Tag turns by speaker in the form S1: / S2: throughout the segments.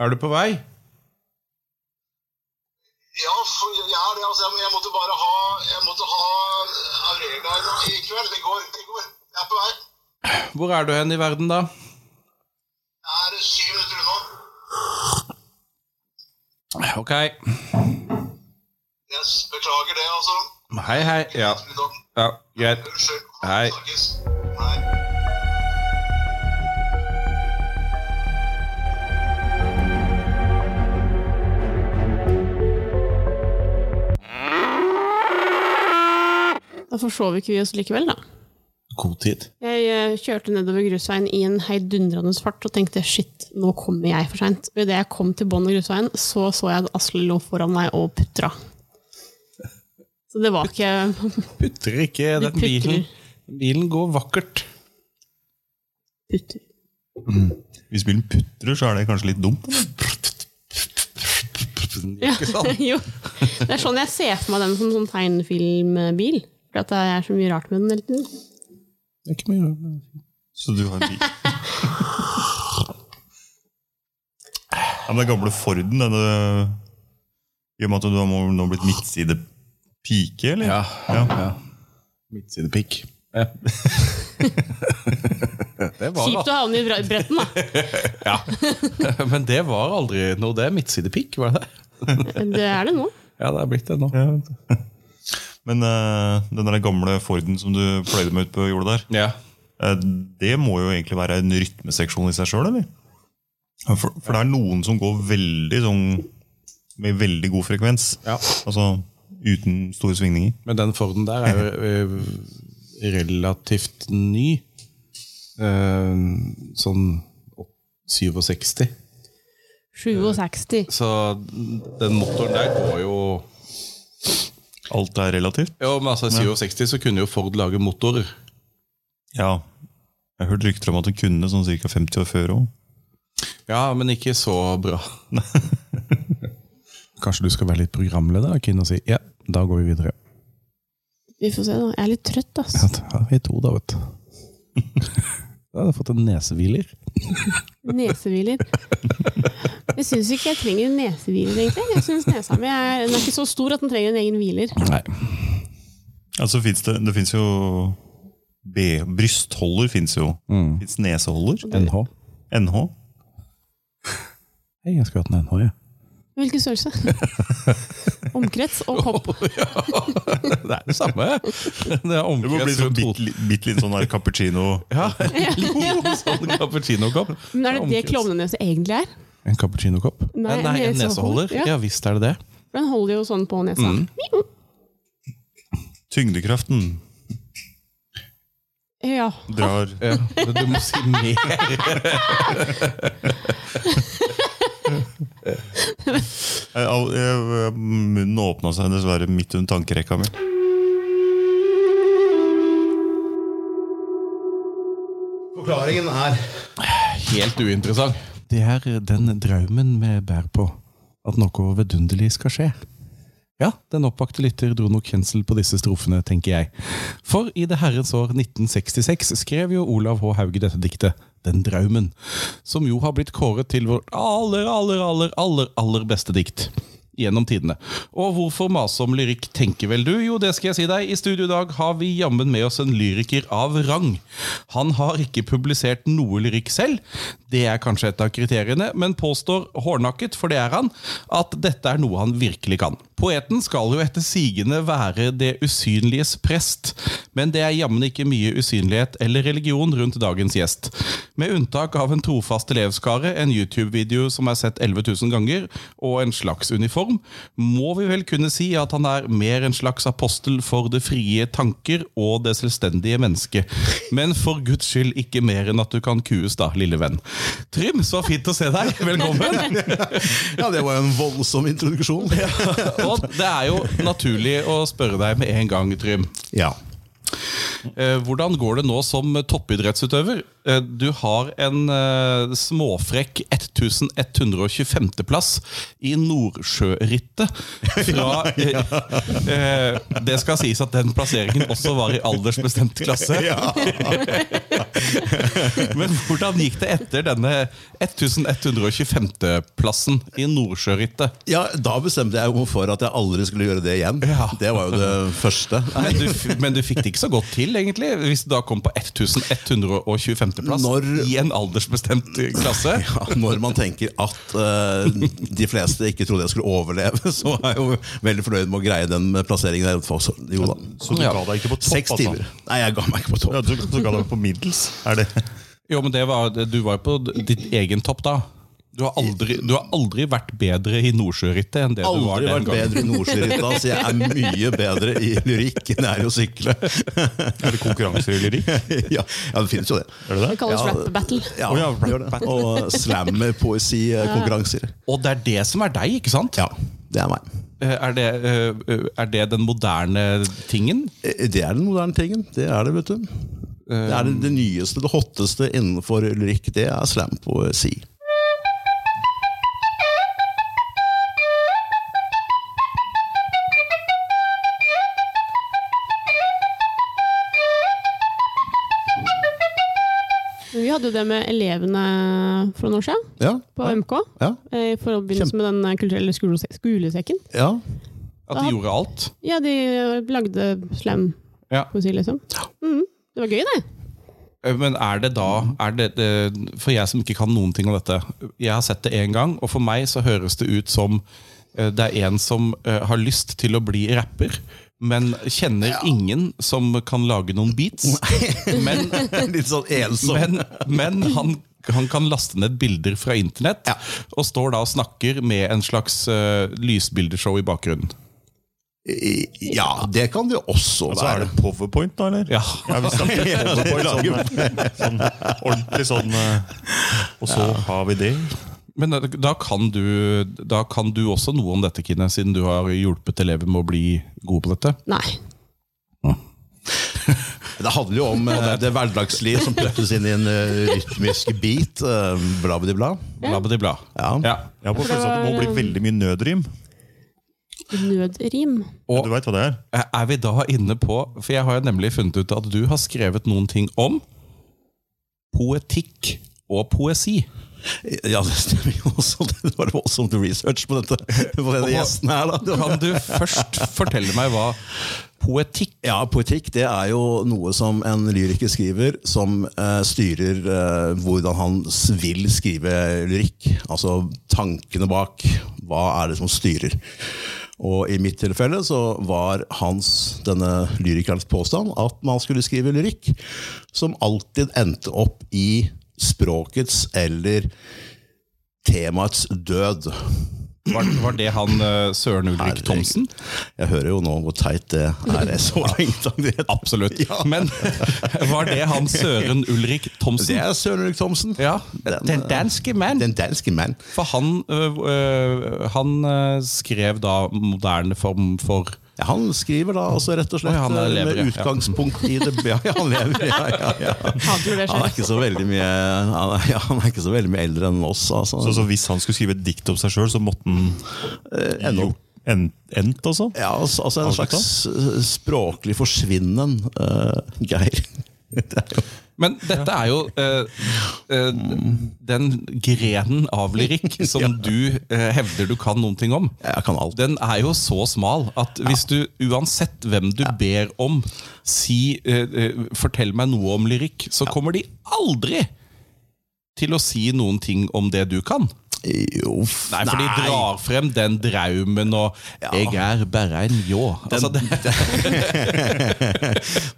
S1: Er du på vei?
S2: Ja, for jeg er det. Altså, jeg måtte bare ha Jeg måtte ha Aurelia i dag- i kveld. Det går. Det går. Jeg er på vei.
S1: Hvor er du hen i verden, da?
S2: Jeg er syv minutter unna.
S1: Ok.
S2: Jeg s- beklager det, altså.
S1: Hei, hei. Ja, ja greit.
S2: Unnskyld.
S1: Hei.
S2: Snakkes. Hei.
S3: Da forsov ikke vi oss likevel, da.
S1: God tid.
S3: Jeg eh, kjørte nedover grusveien i en heidundrende fart og tenkte shit, nå kommer jeg for seint. Og idet jeg kom til bånn av grusveien, så så jeg at Asle lå foran meg og putra. Så det var ikke
S1: Putrer ikke
S3: Du
S1: den bilen.
S3: putrer.
S1: Bilen går vakkert.
S3: putter.
S4: Hvis bilen putrer, så er det kanskje litt dumt.
S3: Ja,
S1: Ikke sant?
S3: jo. Det er sånn jeg ser for meg den som sånn tegnefilmbil. For at det er så mye rart med den hele tiden.
S1: Det er ikke mye å gjøre med det.
S4: Så du har en bil. ja, men den gamle Forden, denne I og med at du har må- nå blitt midtsidepike, eller?
S1: Ja.
S4: Ja.
S1: ja. Midtsidepikk. Ja. det var
S3: Kjipt å havne i bre- bretten, da.
S1: al- Men det var aldri noe, det. Midtsidepikk, var det det?
S3: Det er det nå.
S1: Ja, det er blitt det nå.
S4: Ja, vet du. Men eh, den der gamle Forden som du pløyde med ut på jordet der,
S1: Ja.
S4: eh, det må jo egentlig være en rytmeseksjon i seg sjøl, eller? For, for det er noen som går veldig sånn med veldig god frekvens.
S1: ja.
S4: Altså uten store svingninger.
S1: Men den Forden der er jo eh, relativt ny. Eh, sånn åt- 67.
S3: 67.
S1: Så den motoren der går jo
S4: Alt er relativt.
S1: Jo, men altså, i 67 så kunne jo Ford lage motorer.
S4: Ja. Jeg har hørt rykter om at hun kunne sånn ca. 50 år før òg.
S1: Ja, men ikke så bra. Kanskje du skal være litt programleder og inn og si ja, da går vi videre.
S3: Vi får se, da. Jeg er litt trøtt, ass.
S1: Ja, da er vi to, da, vet du. Da hadde jeg fått en nesehviler.
S3: Nesehviler. Jeg syns ikke jeg trenger en nesehviler, egentlig. Jeg synes nesa mi er, den er ikke så stor at den trenger en egen hviler.
S1: Nei.
S4: Altså, finnes det det fins jo B, Brystholder fins jo.
S1: Mm.
S4: Fins neseholder.
S1: NH.
S4: NH.
S1: Hei, jeg skulle hatt en NH, jeg.
S3: Hvilken størrelse? Omkrets og kopp.
S1: Det er det samme. Det er
S4: Det må bli
S1: omkrets
S4: sånn
S1: rundt
S4: bitte
S1: hodet.
S4: li- bitte liten sånn der cappuccino.
S1: Ja, en liten sånn cappuccinokopp.
S3: Men er det det
S1: Omkrets.
S3: klovneneset egentlig er?
S1: En cappuccinokopp? Nei,
S3: Nei,
S1: Nei, en
S3: neseholder.
S1: neseholder. Mm.
S3: Ja.
S1: Ja visst er det det.
S3: For den holder jo sånn på nesa.
S5: Mm.
S4: Tyngdekraften
S3: Ja.
S4: drar
S1: Ja, men du må si mer.
S4: Eh, au, eh, Munnen åpna seg dessverre midt under tankerekka mi.
S5: Forklaringen er
S1: Helt uinteressant. Det er den drømmen vi bærer på. At noe vedunderlig skal skje. Ja, den oppakte lytter dro nok kjensel på disse strofene, tenker jeg. For i det herrens år 1966 skrev jo Olav H. Hauge dette diktet, Den drømmen, som jo har blitt kåret til vårt aller, aller, aller, aller, aller beste dikt gjennom tidene. Og hvorfor mase om lyrikk, tenker vel du? Jo, det skal jeg si deg. I studio i dag har vi jammen med oss en lyriker av rang. Han har ikke publisert noe lyrikk selv, det er kanskje et av kriteriene, men påstår hårdnakket, for det er han, at dette er noe han virkelig kan. Poeten skal jo etter sigende være det usynliges prest, men det er jammen ikke mye usynlighet eller religion rundt dagens gjest. Med unntak av en trofast elevskare, en YouTube-video som er sett 11 000 ganger, og en slags uniform, må vi vel kunne si at han er mer en slags apostel for det frie tanker og det selvstendige mennesket. Men for guds skyld ikke mer enn at du kan kues, da, lille venn. Trym, så fint å se deg. Velkommen.
S5: Ja, det var jo en voldsom introduksjon.
S1: Og det er jo naturlig å spørre deg med en gang, Trym.
S5: Ja.
S1: Eh, Hvordan går det nå som toppidrettsutøver? Eh, Du har en eh, småfrekk 1125. plass i Nordsjørittet. Fra, eh, eh, det skal sies at den plasseringen også var i aldersbestemt klasse. Men hvordan gikk det etter denne 1125. plassen i Nordsjørittet?
S5: Ja, Da bestemte jeg jo for at jeg aldri skulle gjøre det igjen.
S1: Ja.
S5: Det var jo det første.
S1: Men du, f- men du fikk det ikke så godt til, egentlig, hvis du da kom på 1125. plass
S5: Når-
S1: i en aldersbestemt klasse.
S5: Ja, når man tenker at eh, de fleste ikke trodde jeg skulle overleve, så er jeg jo veldig fornøyd med å greie den plasseringen. der. Så- Jo da.
S4: Så du
S1: Ja.
S4: ga deg ikke på topp?
S5: Seks timer. Nei, jeg ga meg ikke på
S4: Altså. Ja,
S5: topp.
S4: du, du ga deg på middels? Er det
S1: Jo, men det var, Du var jo på ditt egen topp da. Du har aldri, du har aldri vært bedre i Nordsjørittet enn det du var
S5: Aldri
S1: den
S5: vært
S1: gangen.
S5: bedre i Nordsjøhytta, så jeg er mye bedre i lyrikk enn jeg er i å sykle.
S4: er det konkurranser i lyrikk?
S5: Ja, ja, det finnes jo det.
S4: Er det
S3: Det
S4: det?
S3: kalles
S5: Ja.
S3: rap battle.
S5: Ja,
S4: Å ja,
S5: det gjør det. Og slam-poesikonkurranser.
S1: Og det er det som er deg, ikke sant?
S5: Ja, det er meg.
S1: Eh, Er, det, eh, er det den moderne tingen?
S5: Eh, Det er den moderne tingen. Det er det, vet du. Det er det, det nyeste, det hotteste innenfor lyrikk. Det er slam-poesi.
S3: Men Vi hadde jo det med elevene for noen år siden,
S5: Ja,
S3: på MK.
S5: ja,
S3: eh, I forbindelse med den eh, kulturelle skole skolesekken.
S5: ja.
S1: At de gjorde alt?
S3: Ja, de eh, lagde slam
S1: Ja.
S3: poesi, liksom. Mm, det var gøy, det.
S1: Eh, Men er det da er det, det, For jeg som ikke kan noen ting om dette Jeg har sett det én gang, og for meg så høres det ut som eh, det er en som eh, har lyst til å bli rapper, men kjenner ingen som kan lage noen beats. Men,
S5: Litt sånn ensom.
S1: men, men han, han kan laste ned bilder fra internett,
S5: Ja.
S1: og står da og snakker med en slags eh, lysbildeshow i bakgrunnen.
S5: I- Ja, det kan det jo også
S4: Altså, er
S5: være.
S4: det powerpoint, da, eller?
S1: Ja.
S4: vi snakker powerpoint. Sånn, sånn ordentlig sånn eh, Og så har vi det.
S1: Men da- da kan, du, da kan du også noe om dette, Kine, siden du har hjulpet elever med å bli gode på dette.
S3: Nei.
S5: Det handler jo om eh, det hverdagsliv som puttes inn i en eh, rytmisk beat. eh, Bla-bidi-bla.
S1: Blabbedi-bla.
S5: Ja.
S1: Ja.
S4: Jeg har på
S3: For det
S4: følelsen at det må
S3: var,
S4: bli veldig mye nødrim.
S3: Nødrim.
S1: Og-
S4: Du veit hva det er?
S1: Er vi da inne på For jeg har jo nemlig funnet ut at du har skrevet noen ting om poetikk og poesi.
S5: Ja, det stemmer jo også. Det var voldsomt research på dette. På denne gjesten her, da.
S1: Kan du først fortelle meg hva poetikk
S5: Ja, poetikk det er jo noe som en lyriker skriver, som eh, styrer eh, hvordan han s- vil skrive lyrikk. Altså tankene bak. Hva er det som styrer? Og i mitt tilfelle så var hans, denne lyrikerens påstand at man skulle skrive lyrikk som alltid endte opp i språkets eller temaets død.
S1: Var, var det han eh, Søren Ulrik
S5: Herregud.
S1: Thomsen?
S5: Jeg hører jo nå hvor teit det er. Så lenge
S1: Absolutt.
S5: Ja.
S1: Men var det han Søren Ulrik
S5: Det
S1: Thomsen?
S5: er Søren Ulrik Thomsen.
S1: Ja.
S5: Den, eh,
S1: Den danske mann.
S5: Den danske mann.
S1: For han, øh, øh, han øh, skrev da moderne form for
S5: Ja, han skriver da altså rett og slett
S1: Oi, han er
S5: eh,
S1: lever, ja.
S5: med utgangspunkt i det ja, ja, han lever, ja, ja, ja.
S3: Hater du det
S5: Han er
S3: selv?
S5: ikke så veldig mye han er, ja, han er ikke så veldig mye eldre enn oss. Altså.
S4: Så, så hvis han skulle skrive et dikt om seg sjøl, så måtte han
S5: ende opp.
S4: en- endt, altså?
S5: ja, altså, altså en slags eh, språklig forsvinnen eh, Geir. Det er jo
S1: Men dette er jo øh, øh, den grenen av lyrikk som du øh, hevder du kan noen ting om.
S5: Jeg kan alt.
S1: Den er jo så smal at hvis du uansett hvem du ber om si øh, øh, 'fortell meg noe om lyrikk', så kommer de aldri til å si noen ting om det du kan.
S5: Jo, f-
S1: Nei, for de drar frem den draumen og 'jeg er bare en ljå'. Altså, det,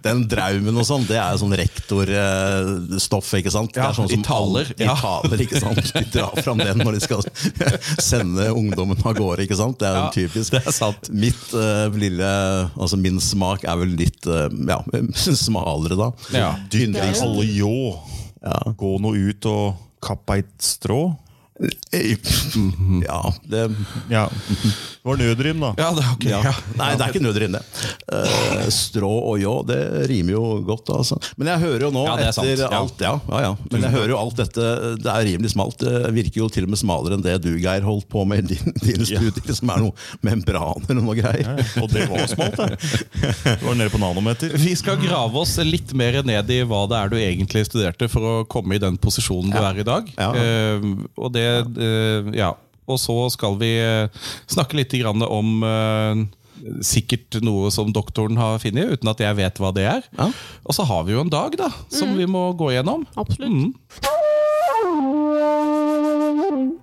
S5: Den draumen og sånn, det er jo sånn rektorstoff, ikke sant? det
S1: Ja,
S5: er sånn
S1: i taler,
S5: alle-
S1: ja.
S5: I taler, ikke sant? De drar fram den når de skal sende ungdommen av gårde, ikke sant? Det er jo
S1: Ja,
S5: typisk.
S1: det er sant.
S5: Mitt eh, lille, altså min smak er vel litt, eh, ja, smalere da.
S1: Ja.
S5: Dyndrings-
S4: Alle ljå. Gå nå ut og kapp ei strå.
S5: Ja, det
S4: Ja. Det var nødrim, da.
S1: Ja, det er ok. Ja.
S5: Nei, det er ikke nødrim, det. Eh, strå og ljå, det rimer jo godt, altså. Men jeg hører jo nå,
S1: Ja, det er sant.
S5: etter
S1: Ja.
S5: alt ja, ja, ja. Men jeg hører jo alt dette Det er rimelig smalt. Det virker jo til og med smalere enn det du, Geir, holdt på med i din- dine studier, som er noe membraner og noe greier.
S4: Og det var smalt, det. Det var nede på nanometer.
S1: Vi skal grave oss litt mer ned i hva det er du egentlig studerte, for å komme i den posisjonen du er i dag.
S5: Ja.
S1: Eh, og det eh, Ja. Og så skal vi eh, snakke litt grann om eh, sikkert noe som doktoren har funnet, uten at jeg vet hva det er.
S5: Ja. Mm.
S1: Og så har vi jo en dag da, som vi må gå gjennom. Mm.
S3: Absolutt.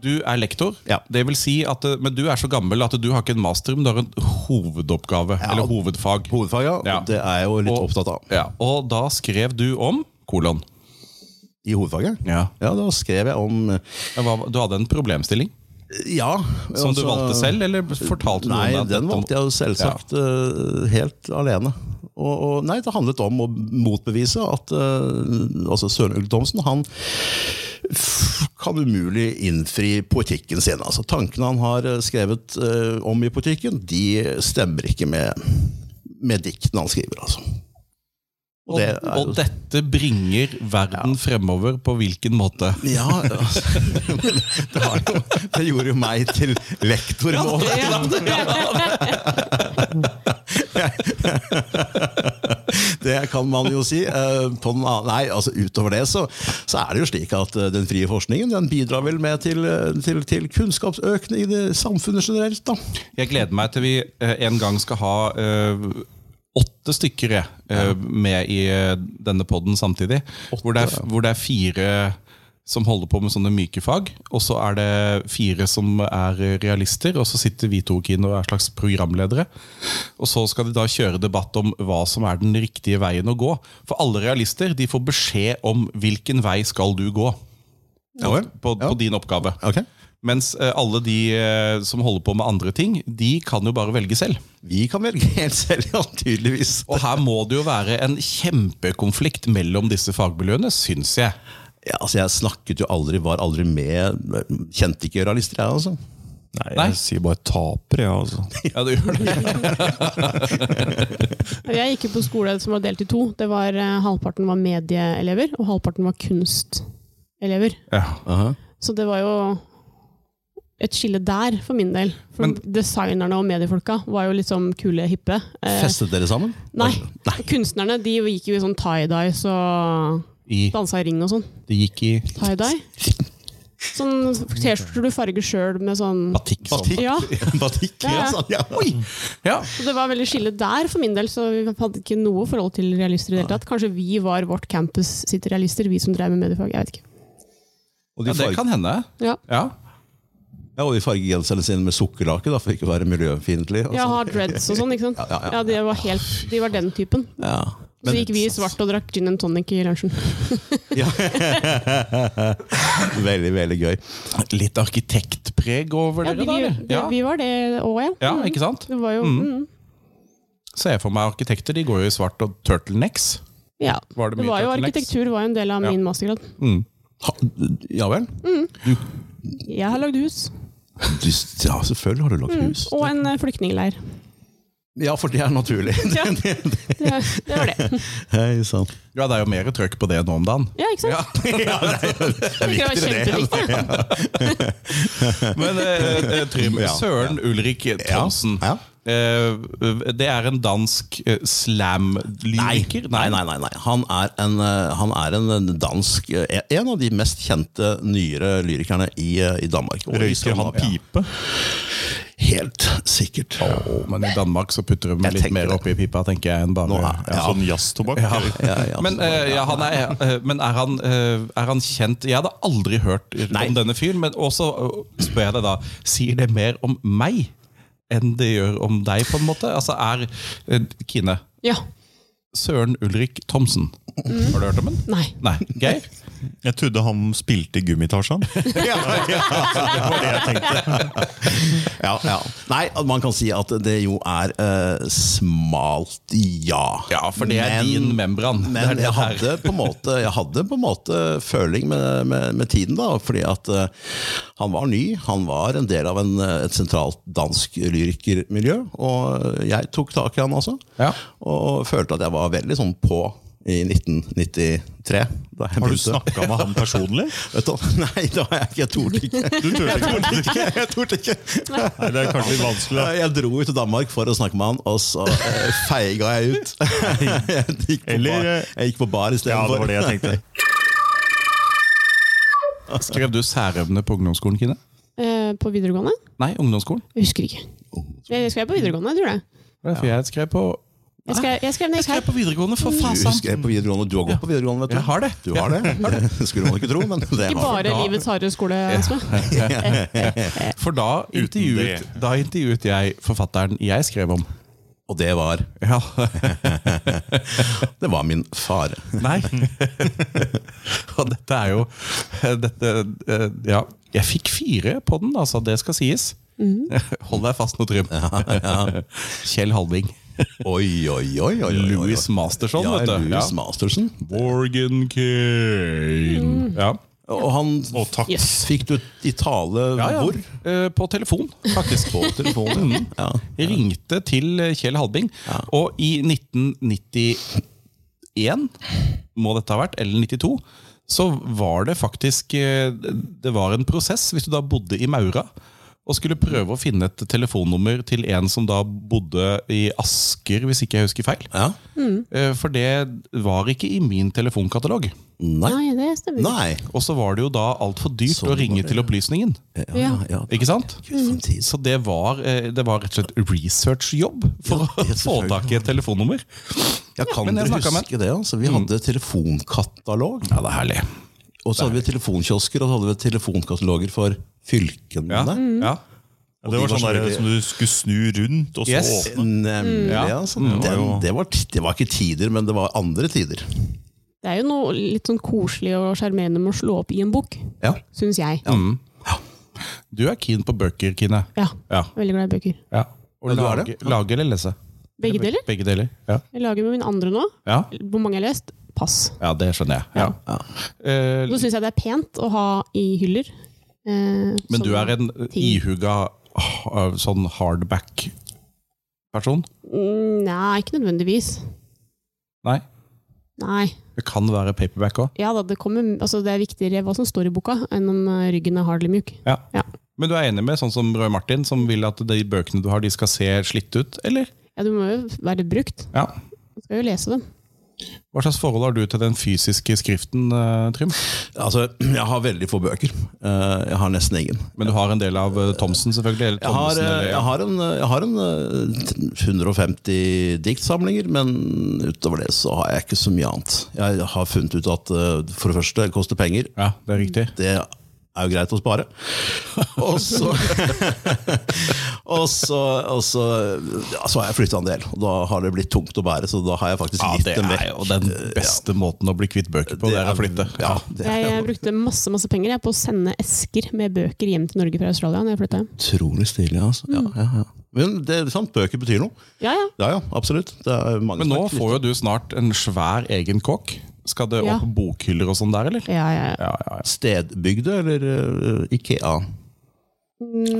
S1: Du er lektor,
S5: Ja.
S1: det vil si at, eh, men du er så gammel at du har ikke en master, men du har en hovedoppgave,
S5: Ja.
S1: eller hovedfag.
S5: Hovedfag, ja.
S1: Ja.
S5: Det er jeg jo litt
S1: Og-
S5: opptatt av.
S1: Ja, og da skrev du om kolon.
S5: I hovedfaget?
S1: Ja.
S5: Ja, da skrev jeg om eh,
S1: Hva- Du hadde en problemstilling
S5: Ja.
S1: som du
S5: altså-
S1: valgte selv, eller fortalte noen
S5: Nei,
S1: deg at
S5: den
S1: dette-
S5: valgte jeg jo selvsagt eh, helt alene. Og, og nei, det handlet om å motbevise at eh, altså Søren Ulf Thomsen han f- kan umulig innfri poetikken sin. Altså, tankene han har eh, skrevet eh, om i poetikken, de stemmer ikke med, med diktene han skriver. altså.
S1: Og,
S5: det er jo-
S1: og dette bringer verden fremover på hvilken måte?
S5: Ja, altså, det, har jo, det gjorde jo meg til lektor nå. Det kan man jo si. Eh, På den annen- nei, altså Utover det så, så er det jo slik at eh, den frie forskningen den bidrar vel med til, eh, til, til kunnskapsøkende i det samfunnet generelt. da.
S1: Jeg gleder meg til vi eh, en gang skal ha eh, åtte stykker jeg, eh, med i eh, denne podden samtidig. hvor, det er, hvor det er fire som holder på med sånne myke fag, og så er det fire som er eh, realister, og så sitter vi to inn og er slags programledere. Og så skal de da kjøre debatt om hva som er den riktige veien å gå. For alle realister de får beskjed om hvilken vei skal du gå på, på din oppgave.
S5: Ok.
S1: Mens eh, alle de eh, som holder på med andre ting, de kan jo bare velge selv.
S5: Vi kan velge helt selv, ja, tydeligvis.
S1: Og her må det jo være en kjempekonflikt mellom disse fagmiljøene, syns jeg.
S5: Ja, altså, jeg snakket jo aldri, var aldri med Kjente ikke realister, jeg, altså.
S4: Nei,
S1: Nei.
S4: jeg sier bare taper, jeg, altså.
S1: Ja, det gjør det.
S3: Jeg gikk jo på skole som var delt i to. Det var, eh, halvparten var medieelever, og halvparten var kunstelever. Så det var jo et skille der, for min del. For
S1: Men-
S3: designerne og mediefolka var jo liksom kule, hippe. Eh,
S5: Festet dere sammen?
S3: nei.
S5: Nei.
S3: Kunstnerne de gikk jo i sånn tie-dye og
S1: I,
S3: dansa i ring og sånn.
S1: det gikk i
S3: Tie-dye. Sånn T-skjorter du farger sjøl med sånn
S1: batikk. som-
S5: Batikk?
S3: Ja.
S5: Batikk,
S3: Ja,
S5: ja.
S3: ja.
S5: sant, ja.
S1: Ja.
S3: Så det var veldig skille der for min del, så vi hadde ikke noe forhold til realister i det hele tatt. Kanskje vi var vårt campus sitt realister, vi som drev med mediefag. Jeg vet ikke.
S5: Og
S1: ja,
S5: de
S1: det
S5: farge-
S1: kan hende.
S3: Ja.
S1: Ja.
S5: Ja, og de fargegenserne sine med sukkerlake, da, for ikke å være miljøfiendtlig. og
S3: Jeg
S5: sånn.
S3: har dreads og sånn, ikke sant.
S5: ja, ja.
S3: Ja, de var, helt, de var den typen.
S5: Ja.
S3: Så gikk vi i svart og drakk gin and tonic i lunsjen.
S5: Ja. sånn. veldig, veldig gøy.
S1: Litt arkitektpreg over
S3: Ja,
S1: dere,
S3: vi,
S1: da?
S3: vi,
S1: eller? Ja.
S3: vi var det òg, ja.
S1: ja, ikke sant?
S3: Det var jo mm.
S1: Ser jeg for meg arkitekter, de går jo i svart og turtlenecks.
S3: Ja.
S1: Var det
S3: Det
S1: mye
S3: var jo
S1: turtlenecks?
S3: arkitektur var jo en del av
S1: Ja.
S3: min mastergrad.
S5: Ha, ja vel?
S3: Jeg har lagd hus.
S5: Du, ja, selvfølgelig har du lagt hus.
S3: Og en eh, flyktningleir.
S5: Ja, for det er naturlig.
S3: Ja, det, det var det.
S5: Hei sann.
S1: Ja, det er jo mer trøkk på det nå om dagen.
S3: Ja, ikke sant? det, det var kjempeviktig.
S1: Men eh, eh, Trym,
S5: Ja.
S1: Søren Ulrik Thomsen.
S5: Ja.
S1: Eh, det er en dansk eh, slam-lyriker?
S5: Nei, nei, nei. nei. Han, er en, eh, han er en dansk eh, En av de mest kjente nyere lyrikerne i, eh, i Danmark. Og i
S4: Røyker han
S5: Skandinavia.
S4: pipe?
S5: Helt sikkert.
S1: Å, men i Danmark så putter de
S5: Jeg
S1: litt
S5: tenker
S1: mer
S5: det.
S1: oppi pipa, tenker jeg. enn bare...
S5: Nå er- Ja.
S4: Sånn jazztobakk? eller?
S5: Ja, ja,
S1: Men, eh, ja, han er, eh, men er, han, eh, er han kjent Jeg hadde aldri hørt
S5: Nei.
S1: om denne fyren, men også eh, spør jeg deg da Sier det mer om meg enn det gjør om deg, på en måte? Altså er eh, Kine
S3: Ja.
S1: Søren Ulrik Thomsen. Har du hørt om den?
S3: Nei.
S1: Nei. Geir?
S4: Jeg trodde han spilte Gummitarsan.
S5: ja, ja.
S4: Det var det jeg tenkte.
S5: ja, ja. Nei, at man kan si at det jo er eh, smalt, ja.
S1: Ja, for det er din membran. Det er
S5: Men
S1: det
S5: jeg
S1: her.
S5: hadde på en måte, jeg hadde på en måte føling med, med, med tiden, da. Fordi at eh, han var ny. Han var en del av en, eh, et sentralt dansk lyrikermiljø. Og jeg tok tak i han, altså.
S1: Ja.
S5: Og følte at jeg var veldig sånn på i 1993. Da jeg
S4: Har du
S5: begynte.
S4: snakka med han personlig?
S5: Vet du, hva? nei, det har jeg ikke. Jeg torde ikke.
S4: Du tør ikke.
S5: Jeg torde ikke.
S4: Nei, det er kanskje litt vanskelig. da.
S5: Jeg dro jo til Danmark for å snakke med han, og så eh, feiga jeg ut. Jeg gikk på
S4: Eller,
S5: bar,
S4: eh,
S5: jeg gikk på bar
S4: Ja, det
S5: istedenfor.
S4: var det jeg tenkte.
S1: Skrev du særevne på ungdomsskolen, Kine?
S3: Eh, på videregående?
S1: Nei, ungdomsskolen.
S3: Jeg husker ikke. Jeg skrev på videregående, jeg tror det.
S1: For jeg skrev på
S3: Jeg skrev, jeg skrev ned i Skype.
S1: på videregående, for faen
S5: Du husker jeg på videregående, du har gått på videregående, vet du.
S1: Jeg har det.
S5: Du har det. det skulle man ikke tro, men det
S3: Ikke
S5: har du.
S3: bare livets harde skole, Asme.
S1: For da intervjuet,
S4: det.
S1: da intervjuet jeg forfatteren jeg skrev om.
S5: Og det var,
S1: Ja,
S5: det var min far.
S1: Nei. Og dette er jo dette, eh, Ja. Jeg fikk fire på den, altså. Det skal sies. Hold deg fast nå, Trym. Kjell Halving.
S5: Oi, oi, oi. oi, oi, oi.
S1: Louis Masterson,
S5: ja,
S1: vet du.
S5: Louis Masterson.
S1: Morgan Kane. Ja.
S5: Og han
S4: Og takk.
S3: Yes.
S5: fikk du i tale
S1: Ja, ja.
S5: hvor?
S1: Eh, På telefon, faktisk. På telefonen. Mm.
S5: Ja.
S1: Ringte til eh, Kjell Halbing. Og i 1991, må dette ha vært, eller 92, så var det faktisk eh, Det var en prosess, hvis du da bodde i Maura. Og skulle prøve å finne et telefonnummer til en som da bodde i Asker, hvis ikke jeg husker feil.
S5: Ja. Mm.
S1: Eh, For det var ikke i min telefonkatalog.
S5: Nei.
S3: Nei, det stemmer. ikke.
S5: Nei.
S1: Og så var det jo da altfor dyrt
S5: Sånn
S1: å
S5: var
S1: ringe
S5: det,
S1: til Opplysningen.
S5: Ja, ja, ja.
S1: Ikke sant?
S5: Gud, for en tid.
S1: Så det var, eh, det var rett og slett researchjobb for
S5: Ja,
S1: å
S5: det
S1: få
S5: selvfølgelig.
S1: tak i et telefonnummer.
S5: Ja, kan
S1: men jeg
S5: dere
S1: snakket med
S5: huske det? Altså, vi hadde telefonkatalog.
S1: Ja, det er herlig.
S5: Og så hadde vi telefonkiosker, og så hadde vi telefonkataloger for fylkene.
S1: Ja,
S3: Mm.
S1: ja.
S4: Det var sånn der, som du skulle snu rundt, og så
S1: Yes.
S4: åpne.
S5: Nemlig.
S1: Ja.
S5: Altså, den, det, var det var ikke tider, men det var andre tider.
S3: Det er jo noe litt sånn koselig og sjarmerende med å slå opp i en bok,
S5: Ja.
S3: syns jeg.
S1: Du er keen på bøker, Kine.
S3: Ja.
S1: Ja.
S3: Jeg er veldig glad i bøker.
S1: ja. Og
S5: Ja, du er
S1: lage, lage eller lese?
S3: Begge deler.
S1: Begge deler, ja.
S3: Jeg lager med min andre nå.
S1: Ja,
S3: Hvor mange jeg har lest? Pass.
S1: ja det skjønner jeg. Ja. Eh,
S3: Så syns jeg det er pent å ha i hyller. eh,
S1: men
S3: sånn
S1: du er en
S3: ting.
S1: ihuga ah, sånn hardback-person?
S3: Mm, Nei, ikke nødvendigvis.
S1: Nei?
S3: Nei.
S1: Det kan være paperback òg.
S3: Ja da, det, kommer, altså, det er viktigere hva som står i boka, enn om eh, ryggen er hard eller mjuk.
S1: Ja.
S3: Ja.
S1: Men du er enig med sånn som Roy Martin, som vil at de bøkene du har, de skal se slitt ut, eller?
S3: Ja, du må jo være brukt.
S1: Ja.
S3: Du skal jo lese dem.
S1: Hva slags forhold har du til den fysiske skriften, eh, Trym?
S5: Altså, jeg har veldig få bøker. Eh, Jeg har nesten egen.
S1: Men du har en del av eh, Thomsen, selvfølgelig? Eller
S5: Jeg har,
S1: Thomsen,
S5: eh,
S1: eller,
S5: jeg har en, jeg har en eh, 150 diktsamlinger, men utover det så har jeg ikke så mye annet. Jeg har funnet ut at eh, for det første det koster penger.
S1: ja, det er riktig.
S5: Det er jo greit å spare. Og så Og så, og så, ja, så har jeg flytta en del, og da har det blitt tungt å bære. Så da har jeg faktisk
S1: Ja,
S5: gitt
S1: det
S5: dem
S1: er
S5: vekk.
S1: jo den beste måten å bli kvitt bøker på, det er å flytte.
S5: Ja, det er
S3: Jeg eh, brukte masse masse penger jeg, på å sende esker med bøker hjem til Norge fra Australia. når jeg flyttet hjem.
S5: utrolig stilig. Altså. Ja, ja, ja. Men det er sant, bøker betyr noe.
S3: Ja, ja.
S5: Ja, ja, absolutt. Det er mange
S1: Men nå
S5: som er-
S1: får jo du snart en svær egen kåk. Skal det
S3: Ja.
S1: opp bokhyller og sånn der, eller?
S3: ja, ja, ja.
S1: Ja, ja, ja.
S5: Stedbygde eller eh, Ikea?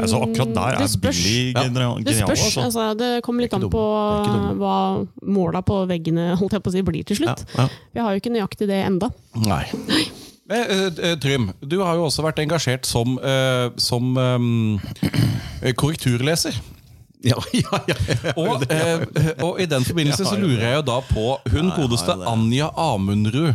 S4: Altså, akkurat der
S3: Det
S4: er
S3: spørs.
S4: Billy
S1: Ja.
S4: genial.
S3: Det
S4: genial,
S3: spørs.
S4: altså.
S3: Altså, det kommer litt
S1: Det er
S3: an
S1: ikke
S3: på
S1: dumt. Det er ikke dumt.
S3: hva måla på veggene holdt jeg på å si, blir til slutt.
S5: Ja, ja.
S3: Vi har jo ikke nøyaktig det enda.
S1: Nei. Eh, eh, eh, Trym, du har jo også vært engasjert som, eh, som eh, korrekturleser.
S5: Ja, ja, ja, ja.
S1: Og, eh, og i den forbindelse så lurer jeg jo da på hun godeste Anja Amundrud.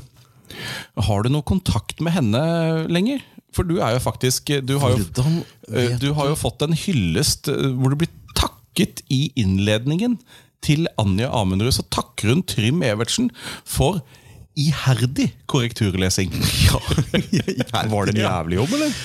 S1: Har du noe kontakt med henne lenger? For du er jo faktisk Du har jo,
S5: Hvordan
S1: eh,
S5: vet
S1: du har jo fått en hyllest eh, hvor du blir takket i innledningen til Anja Amundrud. Så takker hun Trym Evertsen for iherdig korrekturlesing.
S4: Var det en jævlig jobb, eller?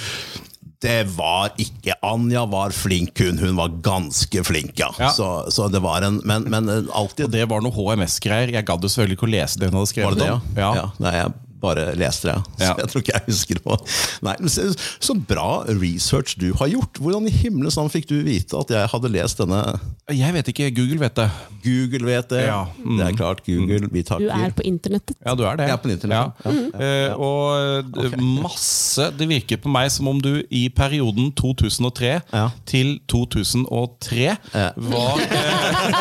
S5: Det var ikke Anja var flink, hun. Hun var ganske flink, ja.
S1: Ja.
S5: Så, så det var en Men, men eh, alltid
S1: Det var noe HMS-greier. Jeg gadd jo selvfølgelig ikke å lese det hun hadde skrevet.
S5: Var det det,
S1: om. Ja.
S5: Nei, jeg bare leste det. Så
S1: Ja.
S5: jeg tror ikke jeg husker det. Nei, men se, så bra research du har gjort! Hvordan i himmelens navn fikk du vite at jeg hadde lest denne?
S1: Jeg vet ikke. Google vet det.
S5: Google vet det!
S1: Ja, mm.
S5: Det er klart, Google, vi
S3: Du
S5: takker.
S3: er på internettet.
S1: Ja, du er det.
S5: Jeg er på internett, ja.
S1: Ja. Eh, og eh, masse Det virker på meg som om du i perioden 2003
S5: Ja.
S1: til 2003 var, eh,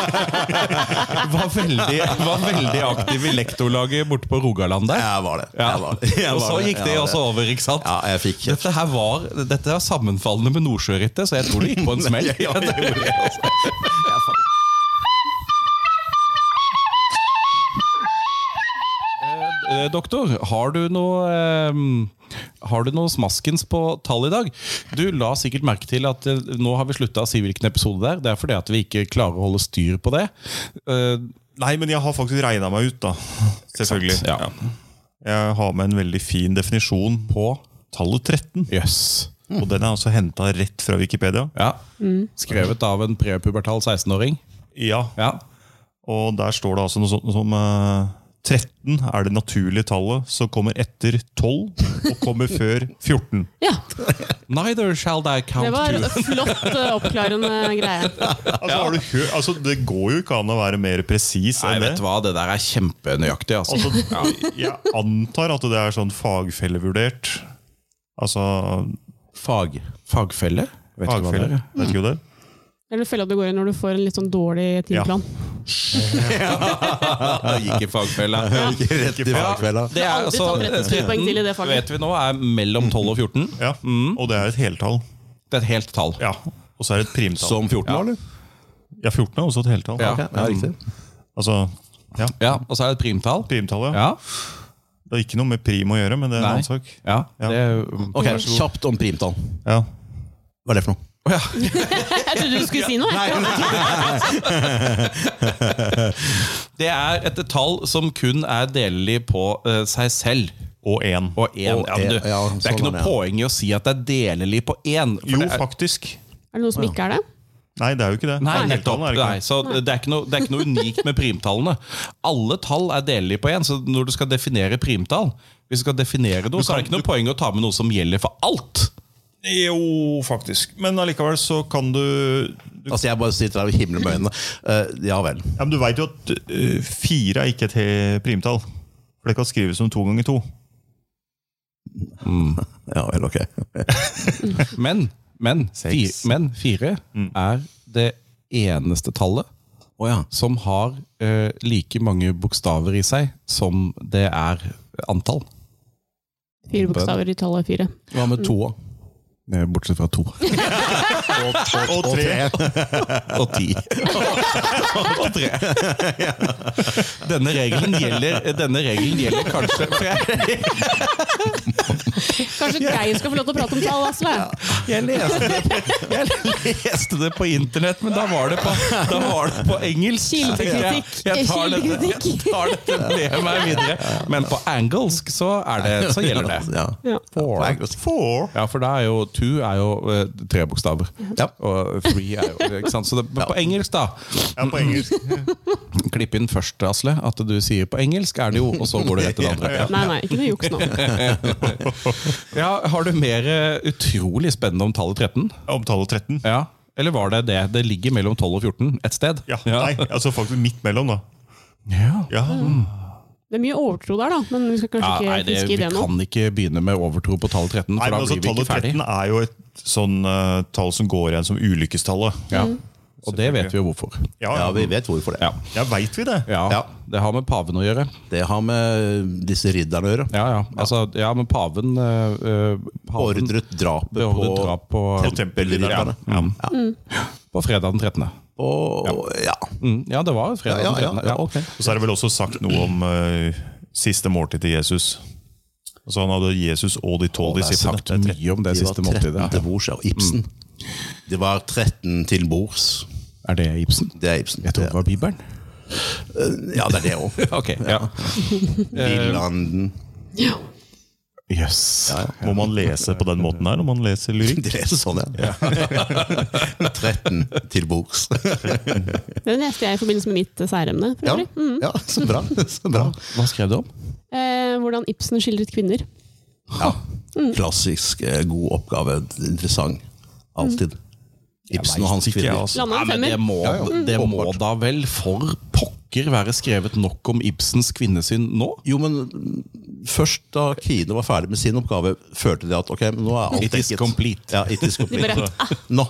S1: var, veldig, var veldig aktiv i lektorlaget borte på Rogaland der.
S5: Jeg var det.
S1: Ja.
S5: Jeg var det. Jeg
S1: og
S5: var
S1: så
S5: det.
S1: gikk
S5: Jeg
S1: det
S5: var
S1: også over, ikke sant?
S5: Ja, jeg fikk kjeft.
S1: Dette her var Dette er sammenfallende med Nordsjørittet, så jeg tror det gikk på en smell.
S5: Ja, det gjorde jeg også. Jeg fant-
S1: Eh, Doktor, har du noe eh, Har du noe smaskens på tall i dag? Du la sikkert merke til at eh, nå har vi slutta å si hvilken episode det er. Det er fordi at vi ikke klarer å holde styr på det. Eh,
S4: Nei, men jeg har faktisk regna meg ut, da. Selvfølgelig.
S1: ja.
S4: Jeg har med en veldig fin definisjon på tallet 13.
S1: Jøss.
S4: Og den er altså henta rett fra Wikipedia.
S1: Ja. Skrevet av en prepubertal 16-åring.
S4: Ja,
S1: Ja.
S4: Og der står det altså noe sånt som eh, 13 er det naturlige tallet som kommer etter 12 og kommer før 14.
S3: Ja,
S1: Neither shall I
S3: det
S1: count
S3: var
S1: you.
S3: flott eh, oppklarende greie.
S4: Altså, har du hø altså, det går jo ikke an å være mer presis
S1: Nei,
S4: enn det.
S1: vet du hva, det der er kjempenøyaktig. Altså.
S4: Altså, jeg antar at det er sånn fagfellevurdert. Altså
S1: Fag. Fagfelle? Vet ikke hva det
S4: fagfelle.
S1: er.
S4: Vet ikke hva det er.
S3: Eller fella du går i når du får en litt sånn dårlig timeplan.
S1: Jeg gikk i fagfelle.
S5: Gikk rett i fagfella.
S1: Det er
S3: Aldri
S1: altså
S3: tatt rett og slett poeng til i det
S1: 13
S3: faget.
S1: vet vi nå er mellom 12 og 14.
S4: Ja.
S1: Mm.
S4: Og det er et heltall.
S1: Det er et helt tall.
S4: Ja. Og så er det et primtall.
S5: Som 14 år, eller?
S4: Ja, 14 er også et heltall.
S1: Ja. Mm.
S5: Ok, ja, riktig.
S4: Altså, ja.
S1: Ja, og så er det et primtall.
S4: Primtallet, ja.
S1: Ja.
S4: Det har ikke noe med prim å gjøre, men det er en
S1: Nei.
S4: annen sak.
S1: ja.
S4: Ja.
S1: Det er,
S5: Ok, Kjapt om primtall.
S4: Ja.
S5: Hva er det for noe?
S1: Å ja.
S3: Jeg trodde du skulle si noe! jeg.
S1: det er et tall som kun er delelig på eh, seg selv.
S4: Og én.
S1: Og én.
S5: Og
S1: ja, men du,
S5: en, ja,
S1: det er ikke
S5: sånn er
S1: noe
S5: det, ja.
S1: poeng i å si at det er delelig på én. for
S4: Jo,
S1: det er,
S4: faktisk.
S3: Er det noen som ikke er det?
S4: Nei, det er jo ikke det.
S1: Nei,
S4: Det er helt
S1: nettopp.
S4: annet, er det ikke
S1: Nei,
S4: det?
S1: så det er, ikke noe, det er ikke noe unikt med primtallene. Alle tall er delelige på én, så når du skal definere primtall, hvis du skal definere noe, så er det ikke noe poeng å ta med noe som gjelder for alt.
S4: Jo, faktisk. Men allikevel så kan du, du
S5: Altså, jeg bare sitter der og himler med øynene. Eh, ja vel.
S4: ja, men Du veit jo at øh, fire er ikke et he- primtall. For det kan skrives som to ganger to.
S5: Ja vel, ok.
S1: Men, men, fi,
S4: Seks.
S1: men fire er det eneste tallet
S5: Å ja.
S1: som har eh, like mange bokstaver i seg som det er antall.
S3: Fire bokstaver i tallet fire.
S5: Hva med toa?
S1: Eh, Bortsett fra to.
S4: Og tre.
S1: Og ti. Og tre. Denne regelen gjelder, denne regelen gjelder kanskje for jeg,
S3: Kanskje Geir skal få lov til å prate om tall, Asle?
S1: jeg, leste det på, jeg leste det på internett, men da var det på, da var det på engelsk.
S3: Kildekritikk.
S1: Jeg, jeg, tar dette, jeg
S3: Kildekritikk.
S1: tar dette med meg videre. Men på engelsk så, er det, så gjelder det.
S5: Eh, Ja.
S3: Ja.
S5: Four. Four.
S1: Ja, for da er jo two er jo eh, tre bokstaver.
S5: Ja.
S1: Og three er jo ikke sant? Så det, men på engelsk, da.
S4: Ja, på engelsk.
S1: Klipp inn først, Asle, at du sier på engelsk er det jo, og så går du rett til det andre.
S3: Nei, nei, ikke noe juks nå.
S1: Ja, Har du mer eh, utrolig spennende om tallet 13?
S4: Om tallet 13.
S1: Ja. Eller var det det? Det ligger mellom 12 og 14 et sted?
S4: Ja, Nei, altså faktisk midt mellom, da.
S1: Ja.
S4: Ja.
S1: Mm.
S3: Det er mye overtro der, da, men vi skal
S1: Ja,
S3: kanskje ikke
S1: nei, det,
S3: fiske
S1: vi
S3: i det nå.
S1: kan ikke begynne med overtro på tallet 13, for
S4: Nei, men
S1: da
S4: altså,
S1: blir vi ikke
S4: tallet
S1: ferdig.
S4: 13 er jo et sånn eh, tall som går igjen som ulykkestallet.
S1: Ja.
S3: Mm.
S1: Og det vet vi jo hvorfor.
S4: Ja,
S5: Ja,
S4: ja.
S5: vi vet hvorfor
S1: Ja.
S5: det.
S4: ja veit vi det?
S1: Ja,
S5: Ja.
S1: Det har med paven å gjøre.
S5: Det har med disse ridderne å gjøre.
S1: Ja, ja. Altså, ja men paven, eh, eh, paven
S5: Ordret drapet
S1: beordret
S5: på
S1: drap på,
S4: På tempelridderne.
S5: Ja.
S1: ja. på fredag den 13.
S5: Og, ja.
S1: Mm, ja, det var fredag
S5: Ja,
S1: den
S5: ja,
S1: 13.
S5: ja, ok.
S4: Og så er det vel også sagt noe om eh, siste måltid til Jesus. Altså Han hadde Jesus og de tolv
S1: Det er
S4: disiplene.
S1: sagt
S4: Det er tretten.
S1: mye om det
S5: De var
S1: siste
S5: 13
S1: måltidet.
S5: til bords, ja. Og Ibsen. De var 13 til bords.
S1: Er det Ibsen?
S5: Det er Ibsen.
S1: Jeg trodde det var Bibelen.
S5: Ja, det er det òg.
S1: Ok, ja.
S5: Villanden.
S3: Ja.
S1: Jøss.
S4: Må man lese på den måten her når man leser lyrikk?
S5: De leser sånn, ja. 13 til bords.
S3: Det leste jeg i forbindelse med mitt eh, særemne. for
S5: Ja.
S3: øvrig. Mm.
S5: ja, så bra. Så bra.
S1: Hva skrev du om?
S3: Eh, hvordan Ibsen skildret kvinner.
S5: Ja.
S3: Mm.
S5: Klassisk eh, god oppgave. Interessant. Alltid.
S3: Mm.
S5: Ibsen og hans
S4: Ikke jeg,
S5: kvinner.
S4: altså.
S3: Landa
S1: Nei,
S3: en
S1: men det
S3: femmer.
S1: må,
S5: Ja, ja.
S1: det må
S5: Åpenbart.
S1: da vel for pokker være skrevet nok om Ibsens kvinnesyn nå?
S5: Jo, men mm, først da Kine var ferdig med sin oppgave, følte de at ok, men nå er alt
S1: It is
S5: dekket.
S1: complete.
S5: Ja, it is
S3: De
S5: complete.
S3: bare, Ah.
S5: Nå.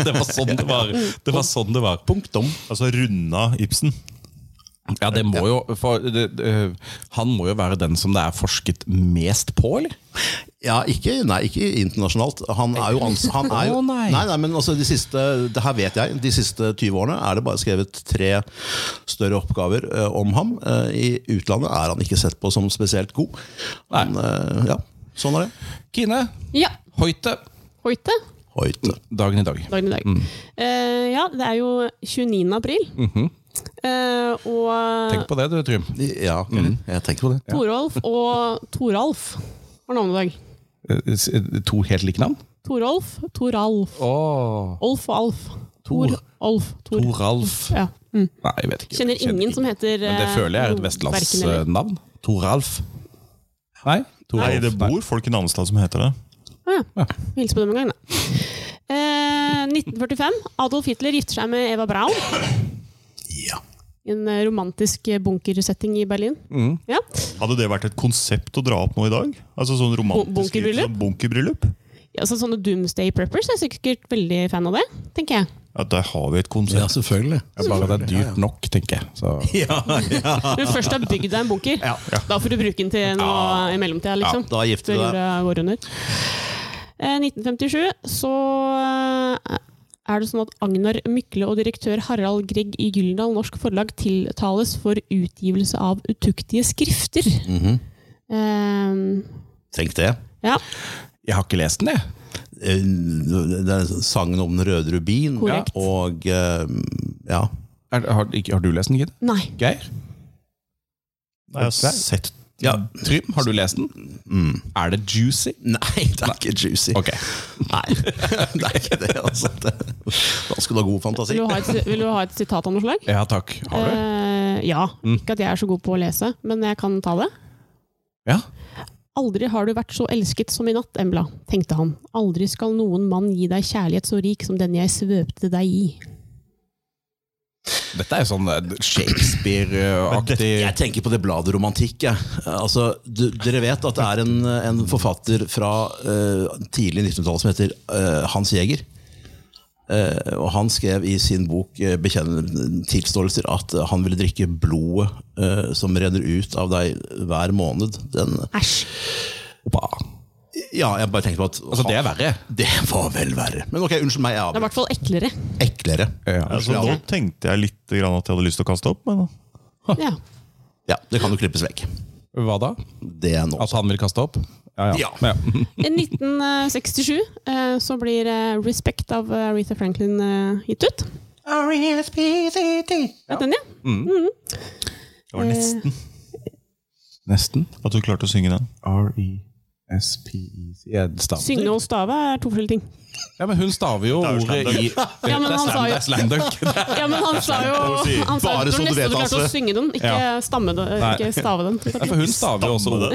S1: Det var sånn det var. Det var sånn det var.
S5: Punktum.
S4: Altså runda Ibsen.
S1: Ja, det må jo for, det, det, Han må jo være den som det er forsket mest på, eller?
S5: Ja, ikke, nei, ikke internasjonalt. Han er jo ans... Han er jo,
S1: Å, nei.
S5: Nei, nei, men altså de siste Det her vet jeg. De siste 20 årene er det bare skrevet tre større oppgaver eh, om ham. Eh, I utlandet er han ikke sett på som spesielt god. Han, eh, ja, sånn er det.
S1: Kine
S3: ja,
S1: Hoite.
S3: Hoite.
S5: Hoite.
S1: Dagen i dag.
S3: Dagen i dag. Eh, ja, det er jo 29. april. Eh,
S1: Mhm. Tenk
S3: og
S1: på det, du, Trym.
S5: Ja, mm, jeg tenkte på det.
S3: Torolf og Toralf har navnedag.
S1: Eh, s- eh, To helt like navn?
S3: Torolf, Toralf.
S1: Åh.
S3: Olf og Alf.
S1: Tor.
S3: Olf. Tor.
S1: Toralf.
S3: Ja. Mm.
S1: Nei, jeg vet ikke.
S3: Kjenner ingen som heter eh,
S1: Men det føler jeg er et eh, vestlandsnavn. Toralf. Nei? Toralf.
S4: Nei, det bor folk i Namsdal som heter det.
S3: Ah, ja. Hilse på dem en gang, da. Eh, 1945. Adolf Hitler gifter seg med Eva Braun.
S5: Ja.
S3: I en eh, romantisk eh, bunkersetting i Berlin.
S5: Mm.
S3: Ja.
S4: Hadde det vært et konsept å dra opp nå i dag? Altså sånn romantisk
S3: bunkerbryllup?
S4: sånn bunkerbryllup?
S3: Ja, så sånne Doomsday Preppers er sikkert veldig fan av det, tenker jeg.
S4: Ja, der har vi et konsept.
S5: Ja, selvfølgelig.
S1: Det er Bare det er dyrt nok, tenker jeg. Så.
S3: Når du først har bygd deg en bunker, da får du bruke den til noe i mellomtida, liksom.
S5: Da gifter
S3: Før
S5: du deg.
S3: jorda går under. Eh, 1957 så eh, er det sånn at Agnar Mykle og direktør Harald Grieg i Gyldendal Norsk Forlag tiltales for utgivelse av utuktige skrifter. eh,
S5: Tenk det.
S3: ja,
S1: Jeg har ikke lest den, jeg.
S5: Eh, Det er sangen om den røde rubin.
S3: Korrekt.
S5: Og eh, ja.
S1: Er, har, ikke, har du lest den, Kine?
S3: nei.
S1: Geir?
S4: Jeg har sett
S1: Ja, Trym, har du lest den?
S5: Mm.
S1: Er det juicy?
S5: Nei, det er ikke juicy.
S1: Ok.
S5: Nei, det er ikke det. Altså. Det, da skal du ha god fantasi.
S3: Vil du ha et, vil du ha et sitat av noe slag?
S1: Ja takk. Har du?
S3: Eh, ja. Ikke at jeg er så god på å lese, men jeg kan ta det.
S1: Ja.
S3: Aldri har du vært så elsket som i natt, Embla, tenkte han. Aldri skal noen mann gi deg kjærlighet så rik som den jeg svøpte deg i.
S1: Dette er jo sånn eh, Shakespeare-aktig
S5: Jeg tenker på det bladet Romantikk. Jeg. Altså, du, dere vet at det er en, en forfatter fra eh, tidlig 1900-tall som heter eh, Hans Jæger. Eh, og han skrev i sin bok eh, Bekjennende tilståelser at eh, han ville drikke blodet eh, som renner ut av deg hver måned. Den,
S3: Æsj.
S1: Hoppa.
S5: ja, jeg bare tenkte på at
S1: Altså, det er verre.
S5: Det var vel verre. Men ok, unnskyld meg. Jeg
S3: Det er i
S5: avbryter.
S3: hvert fall eklere.
S5: Eklere.
S1: Ja.
S4: altså, Nå tenkte jeg litt grann at jeg hadde lyst til å kaste opp, men
S3: Ja.
S5: Ja, det kan jo klippes vekk.
S1: Hva da?
S5: Det er nå.
S1: At han vil kaste opp? Ja, Altså, ja.
S5: Ja.
S1: ja.
S3: I 1967 eh, så blir eh, 'Respect' av eh, Aretha Franklin eh, gitt ut. Ja. Mm. Eh, Den, ja.
S4: det var nesten
S1: Nesten.
S4: at du klarte å synge den.
S1: R-E-S-P-E-C Jeg staver.
S3: Synge og stave er to forskjellige ting.
S1: Ja, men hun staver jo
S4: er jo
S1: ordet i
S3: Ja, men han sa jo-
S1: Det er slam dunk. Det er-
S3: Ja, men han sa jo han sa
S5: Bare
S1: sånn
S3: jo,
S5: så du
S3: nesten
S5: vet,
S3: klarte
S5: Asle.
S3: å synge den, ikke
S1: Ja.
S3: stamme den,
S1: Nei.
S3: ikke stave den.
S1: Ja, for hun staver jo også ordet.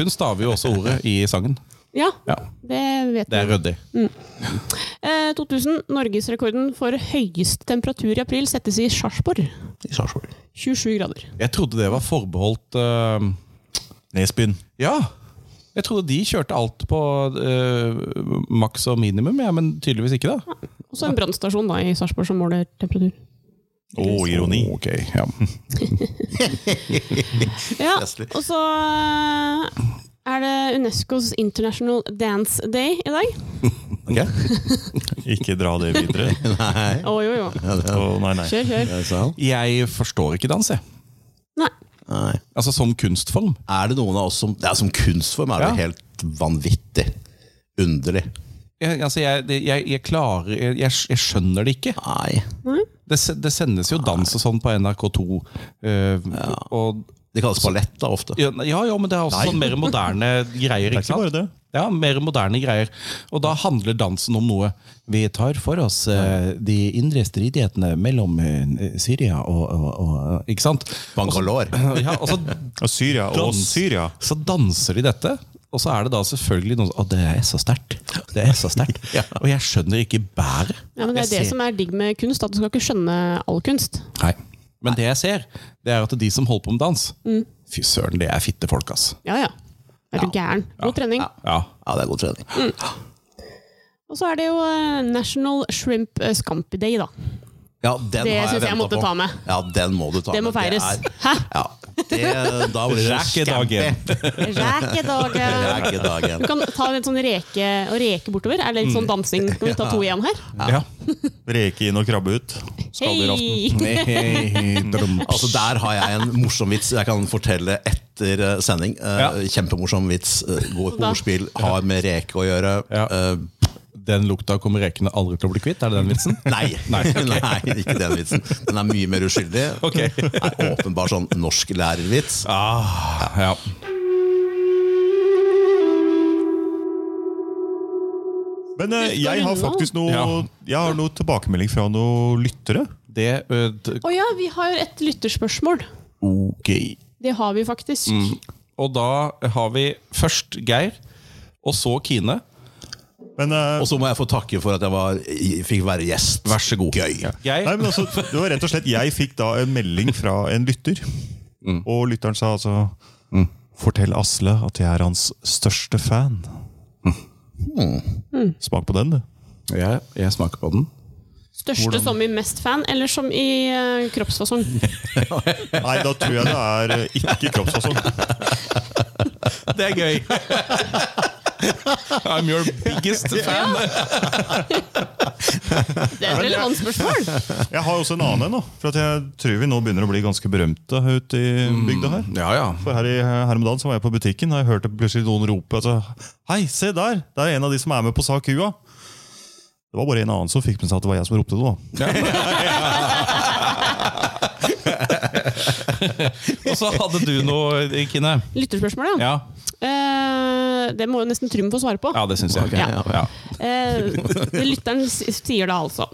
S1: Hun staver jo også ordet i sangen.
S3: Ja,
S1: Ja,
S3: det vet
S1: Det
S3: jeg.
S1: er ryddig.
S3: Eh, 2000. Norgesrekorden for høyest temperatur i april settes i Sarpsborg.
S5: I Sarpsborg.
S3: 27 grader.
S1: Jeg trodde det var forbeholdt eh,
S4: Nesbyen.
S1: Ja! Jeg trodde de kjørte alt på eh, maks og minimum, ja, men tydeligvis ikke, da.
S3: Og så en brannstasjon da, i Sarpsborg som måler temperatur.
S4: Å, ironi.
S1: Ok, ja.
S3: Ja,
S5: Festlig.
S3: og så eh, er det Unescos International Dance Day i dag.
S4: Ikke dra det videre.
S3: Å jo, jo.
S4: Å, nei, nei.
S3: Kjør, kjør.
S1: Jeg forstår ikke dans, jeg.
S3: Nei.
S5: Nei.
S1: Altså som kunstform.
S5: Er det noen av oss som Det er som kunstform er det
S1: Ja.
S5: helt vanvittig. Underlig.
S1: Jeg, altså jeg, det- jeg, jeg klarer jeg, jeg jeg skjønner det ikke.
S5: Nei.
S1: Det, se- det sendes jo dans og sånn på NRK2. eh, og,
S5: Det kalles ballett da ofte.
S1: ja, ja, ja, men det er også sånn mer moderne greier.
S4: Det er
S1: ikke
S4: ikke
S1: sant?
S4: bare det.
S1: Ja, mer moderne greier. Og da handler dansen om noe. Vi tar for oss eh, de indre stridighetene mellom eh, Syria og, og, og Ikke sant?
S5: Bangalore.
S1: Ja, og så,
S4: Og Syria og
S1: dans-
S4: Syria.
S1: så danser de dette. Og så er det da selvfølgelig noen som Å, det er så sterkt! Det er så sterkt. Og jeg skjønner ikke bæret.
S3: Ja, men det er det
S1: Jeg ser-
S3: som er digg med kunst, at du skal ikke skjønne all kunst.
S1: Nei. Men det jeg ser, det er at de som holder på med dans
S3: Mm.
S1: Fy søren, det er fitte folk, ass.
S3: Ja, ja. Er du gæren? God trening.
S1: Ja.
S5: Ja, det er god trening.
S3: Og så er det jo eh, National Shrimp eh, Scampi Day, da.
S5: Ja, den
S3: Det
S5: har
S3: synes jeg
S5: ventet
S3: måtte
S5: på.
S3: ta med.
S5: Ja, den må du ta
S3: Det må
S5: med.
S3: feires.
S5: er-
S3: Hæ?
S5: ja, det, da blir det
S1: Rekedagen.
S3: Rekedagen!
S5: Rekedagen.
S3: Du kan ta litt sånn reke og reke bortover. Er det litt sånn dansing? Skal vi ta to igjen her?
S1: Mm. Ja.
S4: Reke inn og krabbe ut. Skalldyr-aften.
S3: Hei!
S5: Altså Der har jeg en morsom vits jeg kan fortelle etter eh, sending. Eh,
S1: Ja.
S5: Kjempemorsom vits. eh, Går på
S3: Da-
S5: ordspill, har med reke å gjøre.
S1: Ja.
S5: Eh,
S1: Den lukta kommer rekene aldri til å bli kvitt, er det den vitsen?
S5: Nei. Nei, ikke den vitsen. Den er mye mer uskyldig.
S1: Ok.
S5: Er åpenbar sånn norsklærervits.
S4: Ah.
S1: Ja.
S4: Men eh, jeg har faktisk noe,
S1: Ja.
S4: jeg har noe tilbakemelding fra noen lyttere.
S1: Det ø, d-
S3: Å ja, vi har et lytterspørsmål.
S1: Ok.
S3: Det har vi faktisk.
S1: Og da har vi først Geir, og så Kine.
S4: Men, eh,
S5: Og så må jeg få takke for at jeg var, fikk være gjest.
S1: Vær så god.
S5: Gøy.
S1: Geir,
S4: nei, men altså, det var rett og slett Jeg fikk da en melding fra en lytter,
S1: Mm.
S4: og lytteren sa altså Fortell Asle at jeg er hans største fan.
S1: Mm.
S4: Smak på den, du.
S1: jeg, jeg smaker på den.
S3: Største som i mest fan, eller som i eh, kroppsfasong?
S4: Nei, da tror jeg det er eh, ikke sånn. kroppsfasong.
S1: Det er gøy! I'm your biggest fan.
S3: Det er et relevant spørsmål.
S4: Jeg har også en annen en, da. For at jeg tror vi nå begynner å bli ganske berømte ute i
S1: Mm.
S4: bygda her.
S1: Ja, ja.
S4: For her, i, her om dagen så var jeg på butikken og jeg hørte plutselig noen rope altså, Hei, se der! Det er en av de som er med på Sa kua! Det var bare en annen som fikk med seg at det var jeg som ropte det. da.
S1: Og så hadde du noe, Kine.
S3: Lytterspørsmål, ja.
S1: Ja,
S3: Eh, det må jo nesten Trym få svare på.
S1: ja det syns jeg.
S3: Ja.
S1: Ja.
S3: Eh, det lytteren s- sier da altså.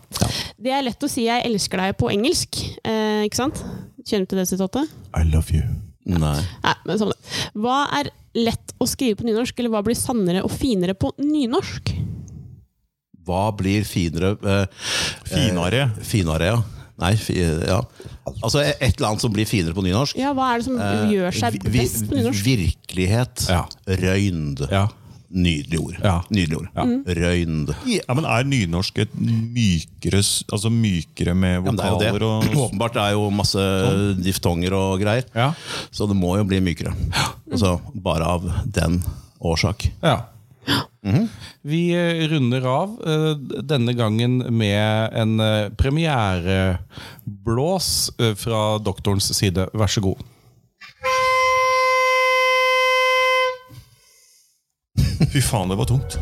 S3: Det er lett å si 'jeg elsker deg' på engelsk. Eh, ikke sant? Kjenner du til det sitatet?
S1: I love you.
S5: Nei.
S3: Nei, men samme det. Hva er lett å skrive på nynorsk, eller hva blir sannere og finere på nynorsk?
S5: Hva blir finere eh,
S4: Finere.
S5: Eh, finere, ja. Nei, fi, ja. Altså et eller annet som blir finere på nynorsk.
S3: Ja, hva er det som gjør seg
S5: Vi- vi-
S3: best på nynorsk?
S5: Virkelighet.
S1: Ja.
S5: Røynd.
S1: Ja.
S5: Nydelig ord.
S1: Ja.
S5: Nydelig ord. Røynd.
S4: Ja, men Er nynorsk et mykere, s- altså mykere med
S5: Ja, men det er jo
S4: vokaler
S5: det.
S4: og Sånn.
S5: Åpenbart det er jo masse diftonger og greier.
S1: Ja.
S5: Så det må jo bli mykere. Altså, bare av den årsak.
S1: Ja. Vi eh, runder av eh, denne gangen med en eh, premiereblås eh, fra doktorens side. Vær så god.
S4: Fy faen, det var tungt!